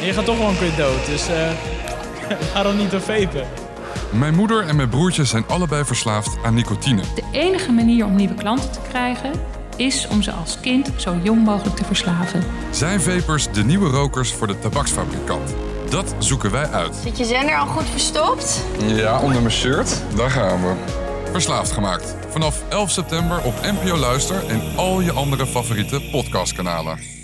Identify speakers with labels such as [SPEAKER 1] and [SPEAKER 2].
[SPEAKER 1] Je gaat toch wel een keer dood, dus eh, waarom niet door vapen?
[SPEAKER 2] Mijn moeder en mijn broertje zijn allebei verslaafd aan nicotine.
[SPEAKER 3] De enige manier om nieuwe klanten te krijgen is om ze als kind zo jong mogelijk te verslaven.
[SPEAKER 2] Zijn vapers de nieuwe rokers voor de tabaksfabrikant? Dat zoeken wij uit.
[SPEAKER 4] Zit je zender al goed verstopt?
[SPEAKER 2] Ja, onder mijn shirt. Daar gaan we. Verslaafd gemaakt. Vanaf 11 september op NPO Luister en al je andere favoriete podcastkanalen.